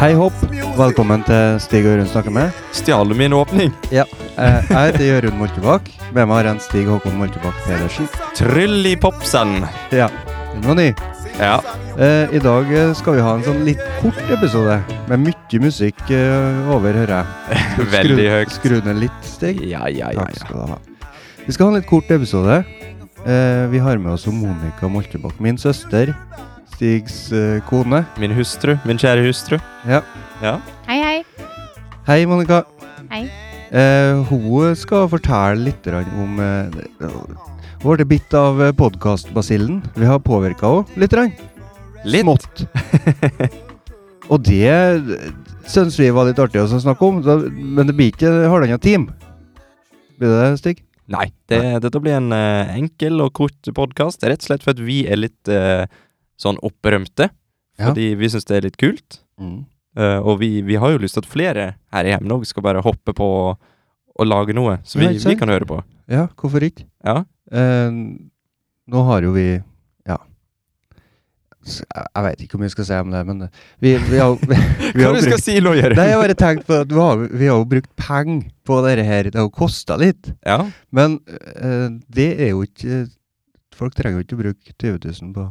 Hei hopp, velkommen til Stig og Jørund snakker med. Stjal du min åpning? Eh, Jeg heter Jørund Moltebakk. Med meg har jeg en Stig Håkon Moltebakk Pedersen. Tryll i popsen. Ja, den var ny. Ja. Eh, I dag eh, skal vi ha en sånn litt kort episode med mye musikk eh, over, hører jeg. Veldig Skru- høyt. Skru ned litt, Stig. Ja, ja, ja. Takk skal du ha. Vi skal ha en litt kort episode. Eh, Vi har med oss Monica Moltebakk, min søster. Stigs eh, kone. Min hustru. Min kjære hustru. Ja. Ja. Hei, hei. Hei, Monica. Hei. Eh, hun skal fortelle litt grann om eh, det- Hun ble bitt av podkastbasillen. Vi har påvirka henne litt. grann. Litt. Smått. Og det syns vi var litt artig å snakke om, da, men det blir ikke halvannet time. Blir det, Stig? Nei, det, dette blir en eh, enkel og kort podkast. Rett og slett fordi vi er litt eh, sånn opprømte. Ja. Fordi vi syns det er litt kult. Mm. Eh, og vi, vi har jo lyst til at flere her i hjemme òg skal bare hoppe på og, og lage noe som Ja, vi, ikke vi sant? kan høre på. Ja, hvorfor ikke? Ja. Eh, nå har jo vi Ja. S- Jeg jeg vet ikke hvor mye jeg skal si om det, men vi, vi har, vi, vi Hva har du skal brukt- si nå, Jørund? Nei, jeg bare tenkte på at vi har, vi har jo brukt penger på dette her. Det har jo kosta litt. Ja. Men eh, det er jo ikke Folk trenger jo ikke å bruke 20 000 på,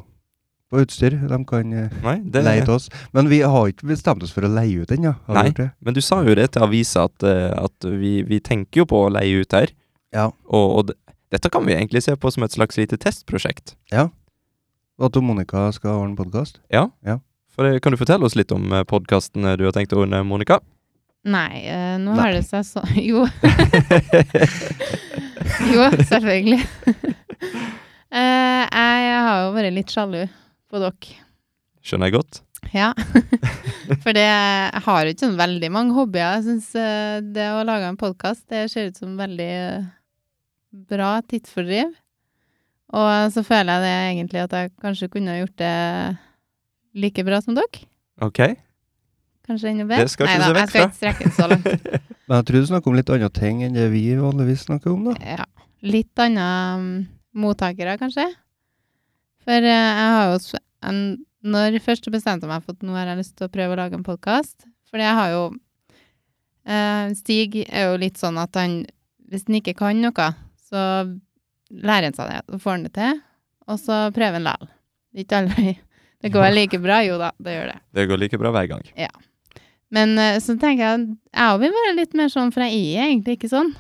på utstyr. De kan eh, Nei, det, leie til oss. Men vi har ikke bestemt oss for å leie ut ennå. har vi Nei. gjort det? Men du sa jo det til avisa at, eh, at vi, vi tenker jo på å leie ut her. Ja. Og, og d- dette kan vi egentlig se på som et slags lite testprosjekt. Og at Monica skal ordne podkast. For eh, Kan du fortelle oss litt om podkasten du har tenkt å ordne, Monica? Nei, eh, nå Nei. har det seg sånn Jo. jo, selvfølgelig. Eh, jeg har jo vært litt sjalu på dere. Skjønner jeg godt. Ja. For det, jeg har jo ikke sånn veldig mange hobbyer. Jeg syns det å lage en podkast, det ser ut som veldig eh, bra tidsfordriv. Og så føler jeg det egentlig at jeg kanskje kunne ha gjort det like bra som dere. Ok. Kanskje enda bedre. Det skal ikke Neida, du se jeg skal vekk ikke strekke det så langt. Men jeg tror du snakker om litt andre ting enn det vi vanligvis snakker om, da. ja, litt andre um, mottakere, kanskje. For eh, jeg har jo s- en, Når jeg først bestemte meg for at nå har jeg lyst til å prøve å lage en podkast For jeg har jo eh, Stig er jo litt sånn at han Hvis han ikke kan noe, så lærer han seg det, og får han det til. Og så prøver han likevel. Det er Ikke aldri Det går like bra, jo da, det gjør det. Det går like bra hver gang. Men eh, så tenker jeg jeg òg vil være litt mer sånn, for jeg er egentlig ikke sånn.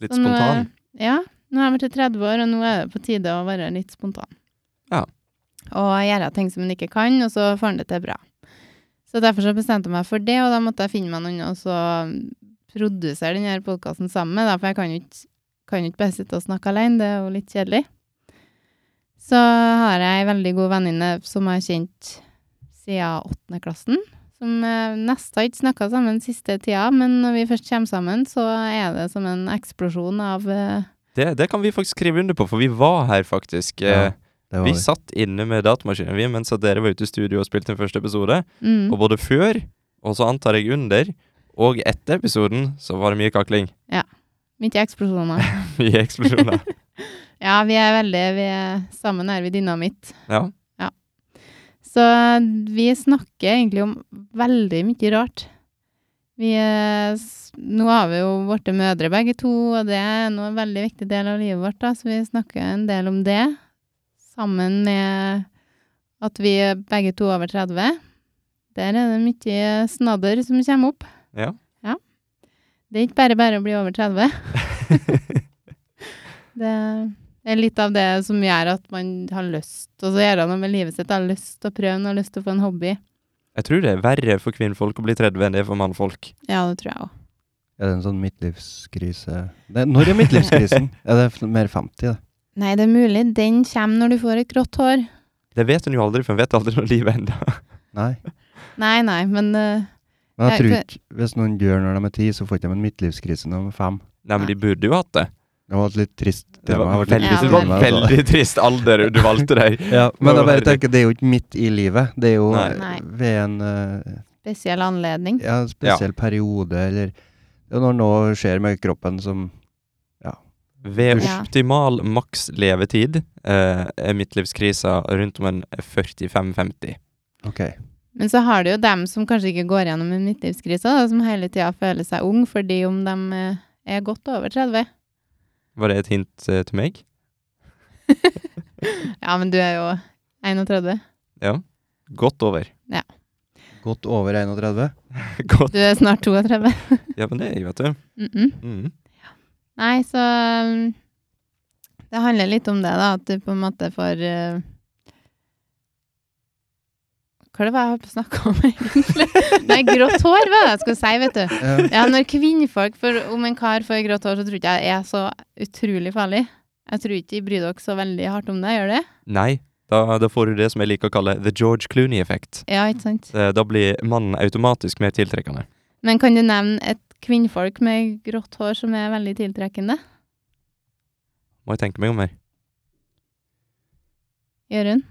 Litt Så nå er- spontan. Ja. Nå har jeg vært 30 år, og nå er det på tide å være litt spontan. Ja. Og gjøre ting som en ikke kan, og så får en det til bra. Så derfor så bestemte jeg meg for det, og da måtte jeg finne meg noen og så produsere denne podkasten sammen med, da, for jeg kan jo ikke, kan jo ikke bare sitte og snakke alene, det er jo litt kjedelig. Så har jeg ei veldig god venninne som jeg har kjent siden åttende klassen, som eh, nesten har ikke snakka sammen siste tida, men når vi først kommer sammen, så er det som en eksplosjon av eh, Det, det kan vi faktisk skrive under på, for vi var her faktisk. Ja, Eh, Det var vi vi. satt inne med datamaskinen vi, mens at dere var ute i studio og spilte den første episode. mm. Og både før, og så antar jeg under, og etter episoden, så var det mye kakling. Mye eksplosjoner. Mye eksplosjoner. Ja, vi er veldig vi er, Sammen er vi dynamitt. Ja. Så vi snakker egentlig om veldig mye rart. Vi er, s- Nå har vi jo blitt mødre begge to, og det er nå en veldig viktig del av livet vårt, da, så vi snakker en del om det. Sammen med at vi er begge to over 30. Der er det mye snadder som kommer opp. Ja. Det er ikke bare bare å bli over 30. det er litt av det som gjør at man har lyst til å gjøre noe med livet sitt. Har lyst til å prøve noe, har lyst til å få en hobby. Jeg tror det er verre for kvinnfolk å bli 30 enn det er for mannfolk. Ja, det tror jeg òg. Er det en sånn midtlivskrise Nei, Når er midtlivskrisen? er det f- mer 50, det? Nei, det er mulig. Den kommer når du får et grått hår. Det vet hun jo aldri, for hun vet aldri når livet er enda. Nei. Nei, nei, men eh, Men jeg Nei, tror for- ikke Hvis noen dør når de er ti, så får ikke de en midtlivskrise når de er fem. Nei, men de burde jo hatt det. Det var et litt trist Det tema. var Jeg ble veldig, litt Ja, det lei var men- meg, altså. veldig trist alder du valgte deg. Ja, men jeg Nå er bare det- tenker, det er jo ikke midt i livet. Det er jo Nei. eh, Nei. ved en eh, spesiell anledning. ja, spesiell periode, eller ja, når noe skjer med kroppen som Ved Ja. optimal maks levetid eh, er midtlivskrisa rundt om en 45-50. OK. Men så har du jo dem som kanskje ikke går gjennom en midtlivskrise, da, som hele tida føler seg ung fordi om de eh, er godt over 30. Var det et hint eh, til meg? Ja, men du er jo 31. Ja. Godt over. Godt over 31. Godt. Du er snart 32. Ja, men det er jeg, vet du. Mm -mm. Mm. Nei, så um, Det handler litt om det, da. At du på en måte får uh, Hva er det var jeg holdt på å snakke om, egentlig? Nei, grått hår, var det jeg skulle si, vet du. Ja. Ja, når kvinnfolk får Om en kar får grått hår, så tror ikke jeg det er så utrolig farlig. Jeg tror ikke de bryr dere så veldig hardt om det, gjør de? Nei, da, da får du det som jeg liker å kalle the George Clooney-effekt. Ja, ikke sant? Eh, Da blir mannen automatisk mer tiltrekkende. Men kan du nevne et kvinnfolk med grått hår som er veldig tiltrekkende? Må jeg tenke meg om her. Jørund?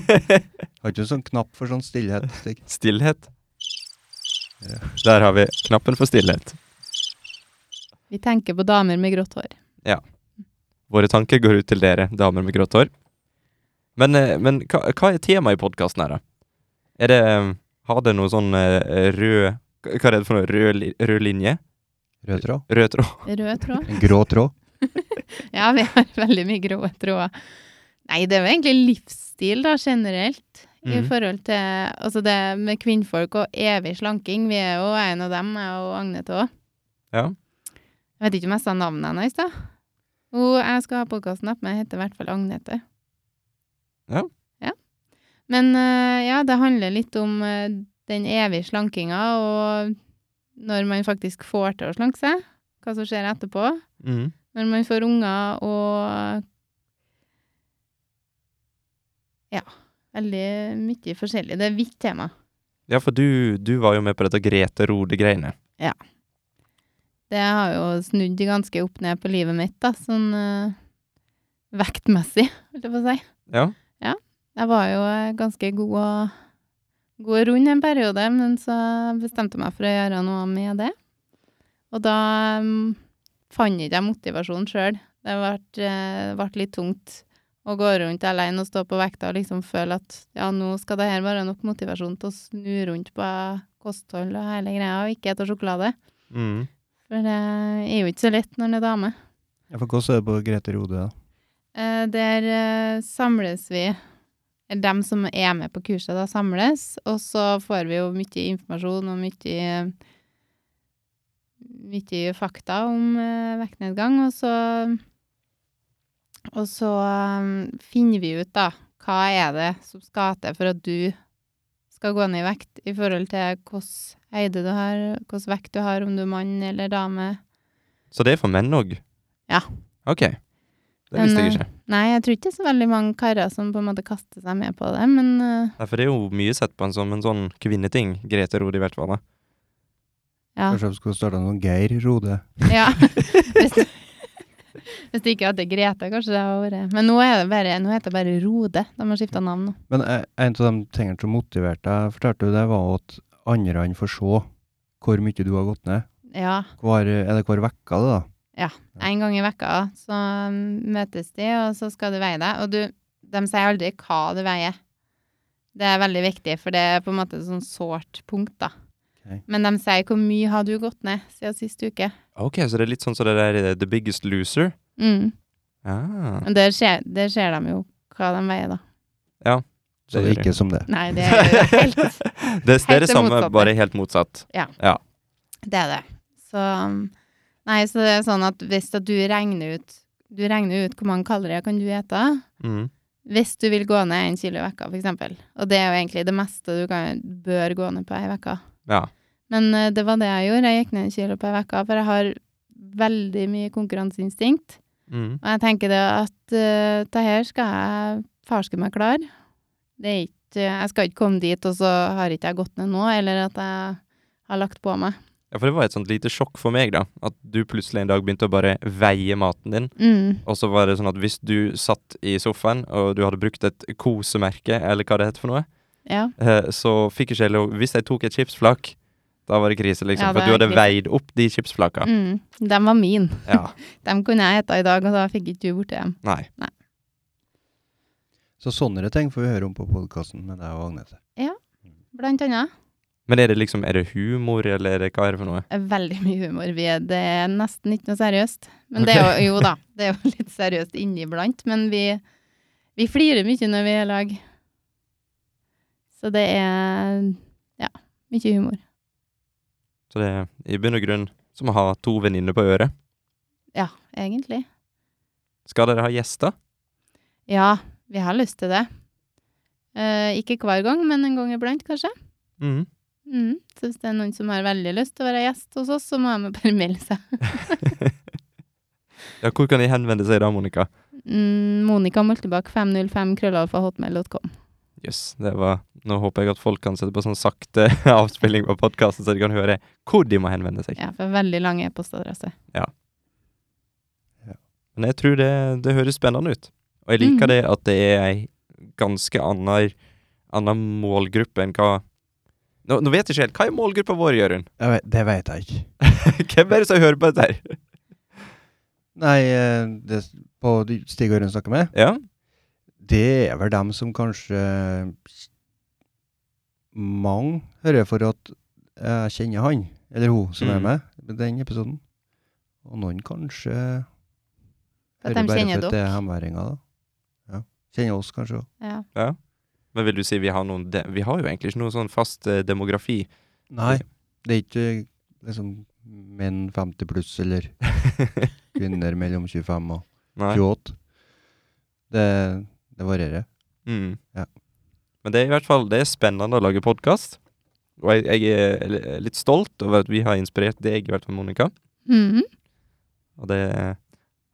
Har ikke du sånn knapp for sånn stillhet? Stig? Stillhet. Der har vi knappen for stillhet. Vi tenker på damer med grått hår. Våre tanker går ut til dere, damer med grått hår. Men, eh, men hva, hva er temaet i podkasten her, da? Er det eh, Har det noe sånn eh, rød Hva er det for noe? Rød, li- rød linje? Rød tråd? Rød tråd? Rød tråd. En grå tråd? Ja, vi har veldig mye grå tråder. Nei, det er jo egentlig livsstil, da, generelt. I Mhm. forhold til Altså det med kvinnfolk og evig slanking. Vi er jo en av dem, jeg og Agnete òg. Ja. Jeg vet ikke om jeg sa navnet hennes, da. Hun jeg skal ha podkasten opp med, heter i hvert fall Agnete. Ja. ja. Men eh, ja, det handler litt om eh, den evige slankinga, og når man faktisk får til å slanke seg. Hva som skjer etterpå Mm. når man får unger og Ja. Veldig mye forskjellig. Det er vidt tema. Ja, for du, du var jo med på dette Grete Rode-greiene. Det har jo snudd ganske opp ned på livet mitt, da, sånn eh, vektmessig, holdt jeg på å si. Ja. Jeg var jo eh, ganske god og, god og rund en periode, men så bestemte jeg meg for å gjøre noe med det. Og da mm, fant ikke jeg motivasjonen sjøl. Det ble, eh, ble litt tungt å gå rundt alene og stå på vekta og liksom føle at ja, nå skal det her være nok motivasjon til å snu rundt på kosthold og hele greia, og ikke spise sjokolade. Mm. For det er jo ikke så lett når en er dame. Ja, for Hvordan er det på Grete Rode? da? Eh, der eh, samles vi eller dem som er med på kurset, da samles, og så får vi jo mye informasjon og mye mye fakta om eh, vektnedgang, og så og så eh, finner vi ut da hva er det som skal til for at du skal gå ned i vekt i forhold til hvordan høyde du har, hvordan vekt du har, om du er mann eller dame. Så det er for menn òg? Ja. Ok. Det visste Men, eh, jeg ikke. Nei, jeg tror ikke det er så veldig mange karer som på en måte kaster seg med på det, men eh, Nei, for det er jo mye sett på en som en sånn kvinneting, Grete Rode i hvert fall. da. Ja. Kanskje vi skulle starta noen Geir Rode? ja. Hvis, du- hvis det ikke hadde Grete, kanskje det hadde vært Men nå, er det bare, nå heter det bare Rode. De har skifta navn nå. Men eh, en av de tingene som motiverte deg, fortalte du det, var at andre enn får se hvor mye du har gått ned. Ja. Hver, er det hver uke, det, da? En gang i vekka så mm, møtes de, og så skal du veie deg. Og du, de sier aldri hva du veier. Det er veldig viktig, for det er på en måte et sånn sårt punkt, da. Ok. Men de sier hvor mye har du gått ned siden sist uke? Ok, så det er litt sånn som det der eh, The Biggest Loser. Mm. Ah. Og der ser, der ser de jo hva de veier, da. Så Det det gjør er ikke som det. Nei, det er jo helt Det, det er det det samme, motsatte. bare helt motsatt. Det er det. Så um, Nei, så det er sånn at hvis at du regner ut Du regner ut hvor mange kalorier kan du ete Mm. hvis du vil gå ned en kilo i vekka, for eksempel. Og det er jo egentlig det meste du kan, bør gå ned på ei vekka. Ja. Men eh, det var det jeg gjorde. Jeg gikk ned en kilo på ei vekka, for jeg har veldig mye konkurranseinstinkt. Mm. Og jeg tenker det at eh, det her skal jeg farske meg klar. Det er ikke Jeg skal ikke komme dit, og så har ikke jeg gått ned nå, eller at jeg har lagt på meg. ja, for det var et sånt lite sjokk for meg, da. At du plutselig en dag begynte å bare veie maten din. Mm. Og så var det sånn at hvis du satt i sofaen, og du hadde brukt et kosemerke, eller hva det heter for noe, Ja. eh, så fikk ikke jeg lov Hvis jeg tok et chipsflak, da var det krise, liksom. Ja, for da at du er det hadde veid opp de chipsflaka. Mm, den var min. Ja. Den kunne jeg heta i dag, og da fikk ikke du borti dem. Nei. Så sånne ting får vi høre om på podkasten med deg og Agnete. blant annet. Men er det liksom, er det humor, eller er det hva er det for noe? er veldig mye humor. Vi er, det er nesten ikke noe seriøst. Men det er jo, jo da, det er jo litt seriøst inniblant. Men vi, vi flirer mye når vi er i lag. Så det er ja, mye humor. Så det er i bunn og grunn som å ha to venninner på øret. Ja, egentlig. Skal dere ha gjester? Ja, vi har lyst til det. Eh, ikke hver gang, men en gang iblant, kanskje. Mhm. Mm. Så hvis det er noen som har veldig lyst til å være gjest hos oss, så må de bare melde seg. Ja, hvor kan de henvende seg da, Monica? Mm, Monica Moltebakk, 505 krøllalfa hotmail.com. Jøss, det var Nå håper jeg at folk kan sette på sånn sakte avspilling på podkasten, så de kan høre hvor de må henvende seg. Ja, for veldig lang e-postadresse. Men jeg tror det, det høres spennende ut. Og jeg liker Mhm. det at det er ei ganske anna, anna målgruppe enn hva nå, nå vet jeg ikke helt. Hva er målgruppa vår, Jørund? Jeg vet, det vet jeg ikke. Hvem er det som hører på dette her? Nei, eh, det s- på de- Stig Ørund snakker med, Ja? det er vel dem som kanskje mange hører for at jeg kjenner han, eller hun, som er Mm. med i den episoden. Og noen kanskje At de kjenner for at dere. det er hemværinger, da. Ja. Kjenner oss kanskje òg. Ja. Men vil du si vi har noen de Vi har jo egentlig ikke noen sånn fast eh, demografi. Nei, det er ikke liksom menn 50 pluss eller kvinner mellom 25 og Nei. 28. Det, det varierer. Mm. Ja. Men det er i hvert fall det er spennende å lage podkast. Og jeg, jeg er li- litt stolt over at vi har inspirert deg, i hvert fall, Monica. Mhm. Og det er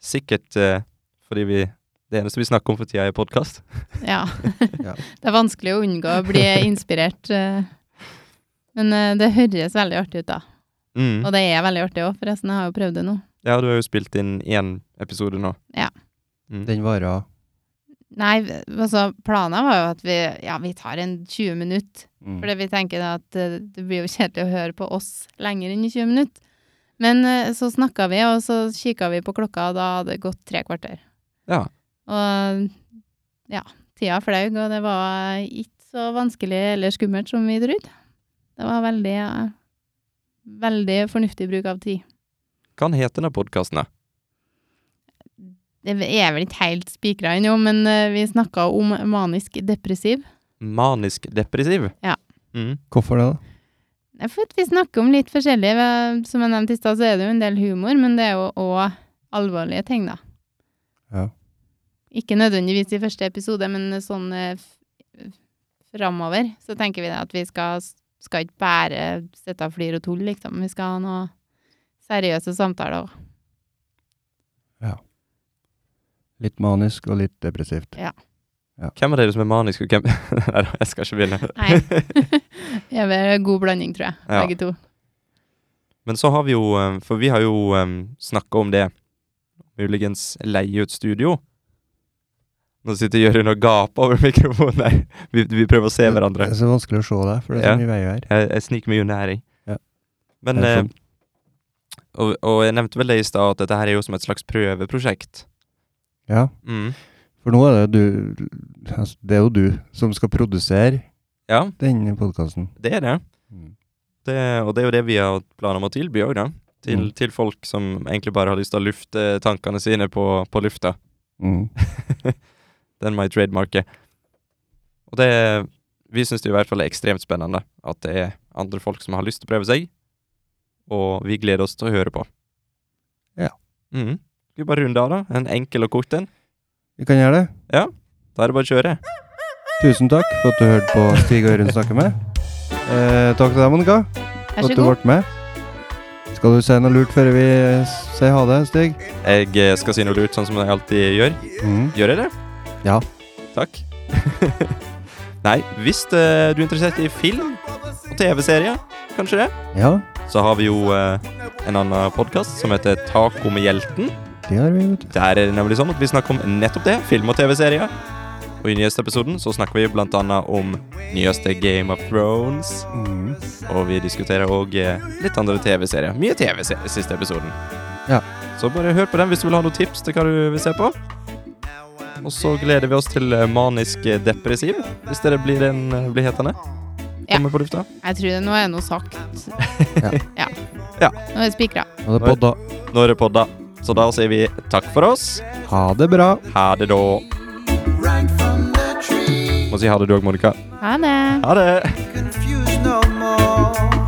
sikkert eh, fordi vi det eneste vi snakker om for tida, er podkast. Ja. Ja. Det er vanskelig å unngå å bli inspirert. eh. Men eh, det høres veldig artig ut, da. Mm. Og det er veldig artig òg, forresten. Jeg har jo prøvd det nå. Ja, du har jo spilt inn én episode nå. Ja. Mm. Den varer Nei, altså, planen var jo at vi, ja, vi tar en 20 minutter. mm. Fordi vi tenker da at eh, det blir jo kjedelig å høre på oss lenger enn i 20 minutter. Men eh, så snakka vi, og så kikka vi på klokka, og da hadde det gått tre kvarter. ja. Og ja, tida flaug, og det var ikke så vanskelig eller skummelt som vi trodde. Det var veldig, eh, veldig fornuftig bruk av tid. Hva heter denne podkasten, da? Det er vel ikke helt spikra ennå, men eh, vi snakka om manisk depressiv. Manisk depressiv? Ja. Mm. Hvorfor det, da? Nei, For at vi snakker om litt forskjellig. Vi- Som jeg nevnte i stad, så er det jo en del humor, men det er jo òg alvorlige ting, da. Ja. Ikke nødvendigvis i første episode, men sånn eh, f- framover. Så tenker vi da at vi skal, skal ikke bare sitte og flire og tulle, liksom. Vi skal ha noe seriøse samtaler òg. Litt manisk og litt depressivt. Hvem av dere som er manisk, og hvem Nei da, jeg skal ikke begynne. Nei. Det er vel en god blanding, tror jeg, Ja. begge to. Men så har vi jo eh, For vi har jo um, snakka om det. Muligens leie ut studio. Nå sitter Jørund og gaper over mikrofonen her. Vi, vi prøver å se Det hverandre. er så vanskelig å se deg, for det er Ja. så mye veier her. Jeg, jeg sniker meg unna her, jeg. Ja. Men Det er sånn- eh, og, og jeg nevnte vel det i stad, at dette her er jo som et slags prøveprosjekt. Ja, Mm. for nå er det du altså, Det er jo du som skal produsere Ja, denne podkasten. det er det. det. Og det er jo det vi har planer om å tilby òg, da. Til, Mm. til folk som egentlig bare har lyst til å lufte tankene sine på, på lufta. Mm. Den må jeg trademarke. Og det Vi syns det i hvert fall er ekstremt spennende at det er andre folk som har lyst til å prøve seg, og vi gleder oss til å høre på. Ja. Mm. Skal vi bare runde av, da? En enkel og kort en. Vi kan gjøre det. Da er det bare å kjøre. Tusen takk for at du hørte på Stig og Ørund snakke med. Eh, takk til deg, Monica, Vær for så at du god. ble med. Skal du si noe lurt før vi eh, sier ha det, Stig? Jeg eh, skal si noe lurt, sånn som jeg alltid gjør. Mm. Gjør jeg det? Ja. Takk. Nei, hvis eh, du er interessert i film og TV-serier, kanskje det, Ja, så har vi jo eh, en annen podkast som heter Taco med hjelten. det har vi, vet du. Der er det nemlig sånn at vi snakker om nettopp det, film og TV-serier. Og i nyeste episoden så snakker vi blant annet om nyeste Game of Thrones. Mm. Og vi diskuterer òg litt andre TV-serier. Mye TV se- siste episoden. Ja. Så bare hør på den hvis du vil ha noen tips til hva du vil se på. Og så gleder vi oss til eh, Manisk eh, depressiv, hvis det blir, en, eh, blir hetende. Ja. kommer på lufta? Jeg tror det nå er noe sagt. Ja. ja. Ja. Nå er det spikra. Og det er podda. Nå er det podda. Så da sier vi takk for oss. Ha det bra. Ha det, da. right from the tree. Må si ha det, du òg, Monica. Ha det. Ha det. Confused no more. ah.